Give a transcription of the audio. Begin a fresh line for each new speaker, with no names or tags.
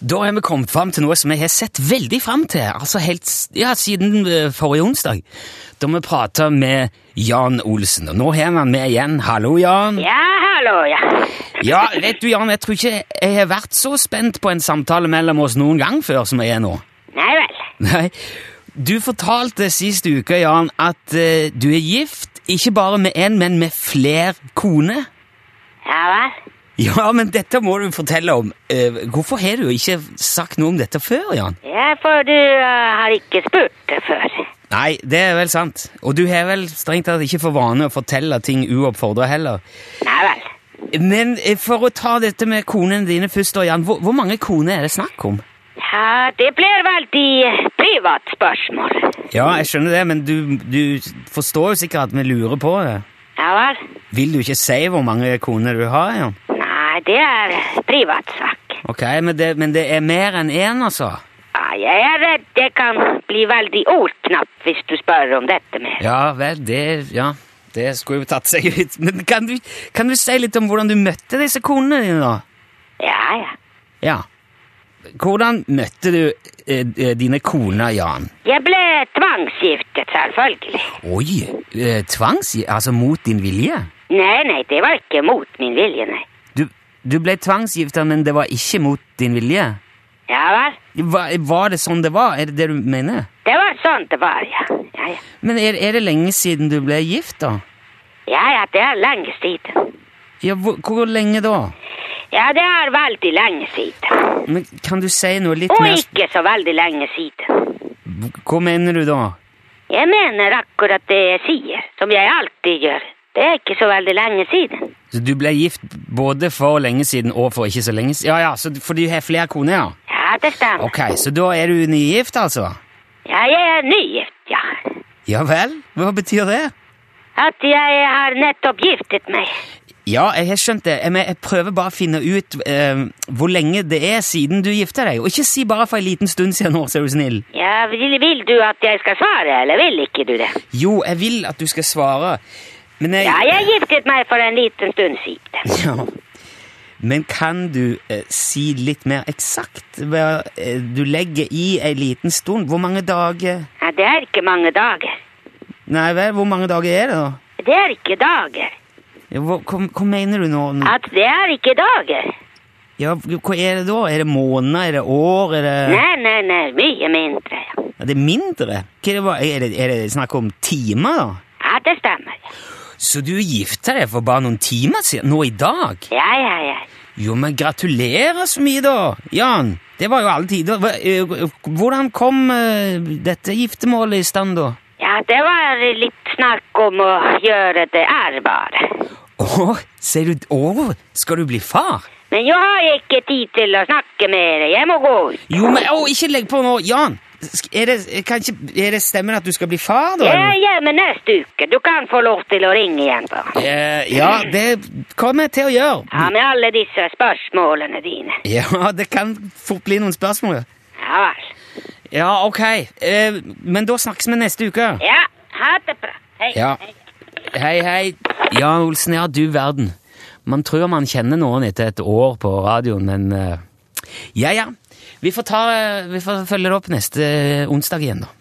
Da har vi kommet fram til noe som jeg har sett veldig fram til, altså helt s- ja, siden eh, forrige onsdag, da vi prata med Jan Olsen. Og nå har vi han med igjen. Hallo, Jan.
Ja, hallo, ja.
Ja, vet du, Jan, jeg tror ikke jeg har vært så spent på en samtale mellom oss noen gang før som jeg er nå.
Nei vel.
Nei. Du fortalte sist uke, Jan, at eh, du er gift, ikke bare med én, men med flere koner.
Ja vel.
Ja, men dette må du fortelle om. Eh, hvorfor har du ikke sagt noe om dette før, Jan?
Ja, for du eh, har ikke spurt før.
Nei, det er vel sant. Og du har vel strengt tatt ikke for vane å fortelle ting uoppfordra heller.
Nei vel.
Men eh, for å ta dette med konene dine først, da, Jan. Hvor, hvor mange koner er det snakk om?
Ja, det blir vel de privat spørsmål.
Ja, jeg skjønner det, men du, du forstår jo sikkert at vi lurer på det.
Ja vel.
Vil du ikke si hvor mange koner du har, Jan?
Nei, det er privatsak.
Ok, men det, men det er mer enn én, altså?
Ja, jeg er redd det kan bli veldig ordknapp hvis du spør om dette mer.
Ja vel, det Ja, det skulle jo tatt seg ut. Men kan du, kan du si litt om hvordan du møtte disse konene dine, da?
Ja, ja.
Ja. Hvordan møtte du eh, eh, dine koner, Jan?
Jeg ble tvangsgiftet, selvfølgelig.
Oi! Eh, tvangs... Altså mot din vilje?
Nei, nei, det var ikke mot min vilje, nei.
Du, du ble tvangsgifta, men det var ikke mot din vilje?
Ja vel.
Hva, var det sånn det var? Er det det du mener?
Det var sånn det var, ja. Ja, ja.
Men er, er det lenge siden du ble gift, da?
Ja, ja, det er lenge siden.
Ja, hvor, hvor lenge da?
Ja, det er veldig lenge siden.
Men kan du si noe litt
Og
mer
ikke så veldig lenge siden.
Hva mener du da?
Jeg mener akkurat det jeg sier, som jeg alltid gjør. Det er ikke så veldig lenge siden.
Så du ble gift både for lenge siden og for ikke så lenge siden? Ja, ja, så, for du har flere koner, ja?
Ja, det stemmer.
Ok, så da er du nygift, altså?
Ja, jeg er nygift, ja.
Ja vel? Hva betyr det?
At jeg har nettopp giftet meg.
Ja, jeg har skjønt det, men jeg prøver bare å finne ut eh, hvor lenge det er siden du gifta deg. Og ikke si bare for en liten stund siden nå, så er du snill.
Ja, vil, vil du at jeg skal svare, eller vil ikke du det?
Jo, jeg vil at du skal svare, men jeg
Ja, jeg giftet meg for en liten stund siden.
Ja. Men kan du eh, si litt mer eksakt hva eh, du legger i ei liten stund? Hvor mange dager
Ja, det er ikke mange dager.
Nei vel, hvor mange dager er det, da?
Det er ikke dager.
Ja, Hva, hva, hva mener du nå?
At det er ikke dager.
Ja, hva er det da? Er det måneder? Er det år? Er det,
Nei, nei, nei, mye mindre, ja.
ja, det er mindre? Hva er, det, bare- er, det, er det snakk om timer, da?
Ja, det stemmer.
Så du gifta deg for bare noen timer siden? Nå i dag?
Ja, ja, ja.
Jo, men gratulerer så mye, da, Jan. Det var jo alle tider. Hva- eh, Hvordan kom eh, dette giftermålet i stand, da?
Ja, det var litt snakk om å gjøre det ærbare.
Å, sier du Å, skal du bli far?
Men jeg har ikke tid til å snakke mer. Jeg må gå ut.
Jo, men å, ikke legg på nå, Jan! Sk- Er det, kan ikke, er det stemmen at du skal bli far, da?
Jeg
eller?
er hjemme neste uke. Du kan få lov til å ringe igjen. da.
Eh, ja, det kommer jeg til å gjøre.
Ja, med alle disse spørsmålene dine.
Ja, det kan fort bli noen spørsmål.
Ja vel.
Ja, ok. Eh, men da snakkes vi neste uke.
Ja, ha det bra. Hei.
Ja.
hei.
Hei, hei. Jan Olsen, ja, du verden. Man tror man kjenner noen etter et år på radioen, eh, men eh, Ja, ja. Vi får, ta, vi får følge det opp neste onsdag igjen, da.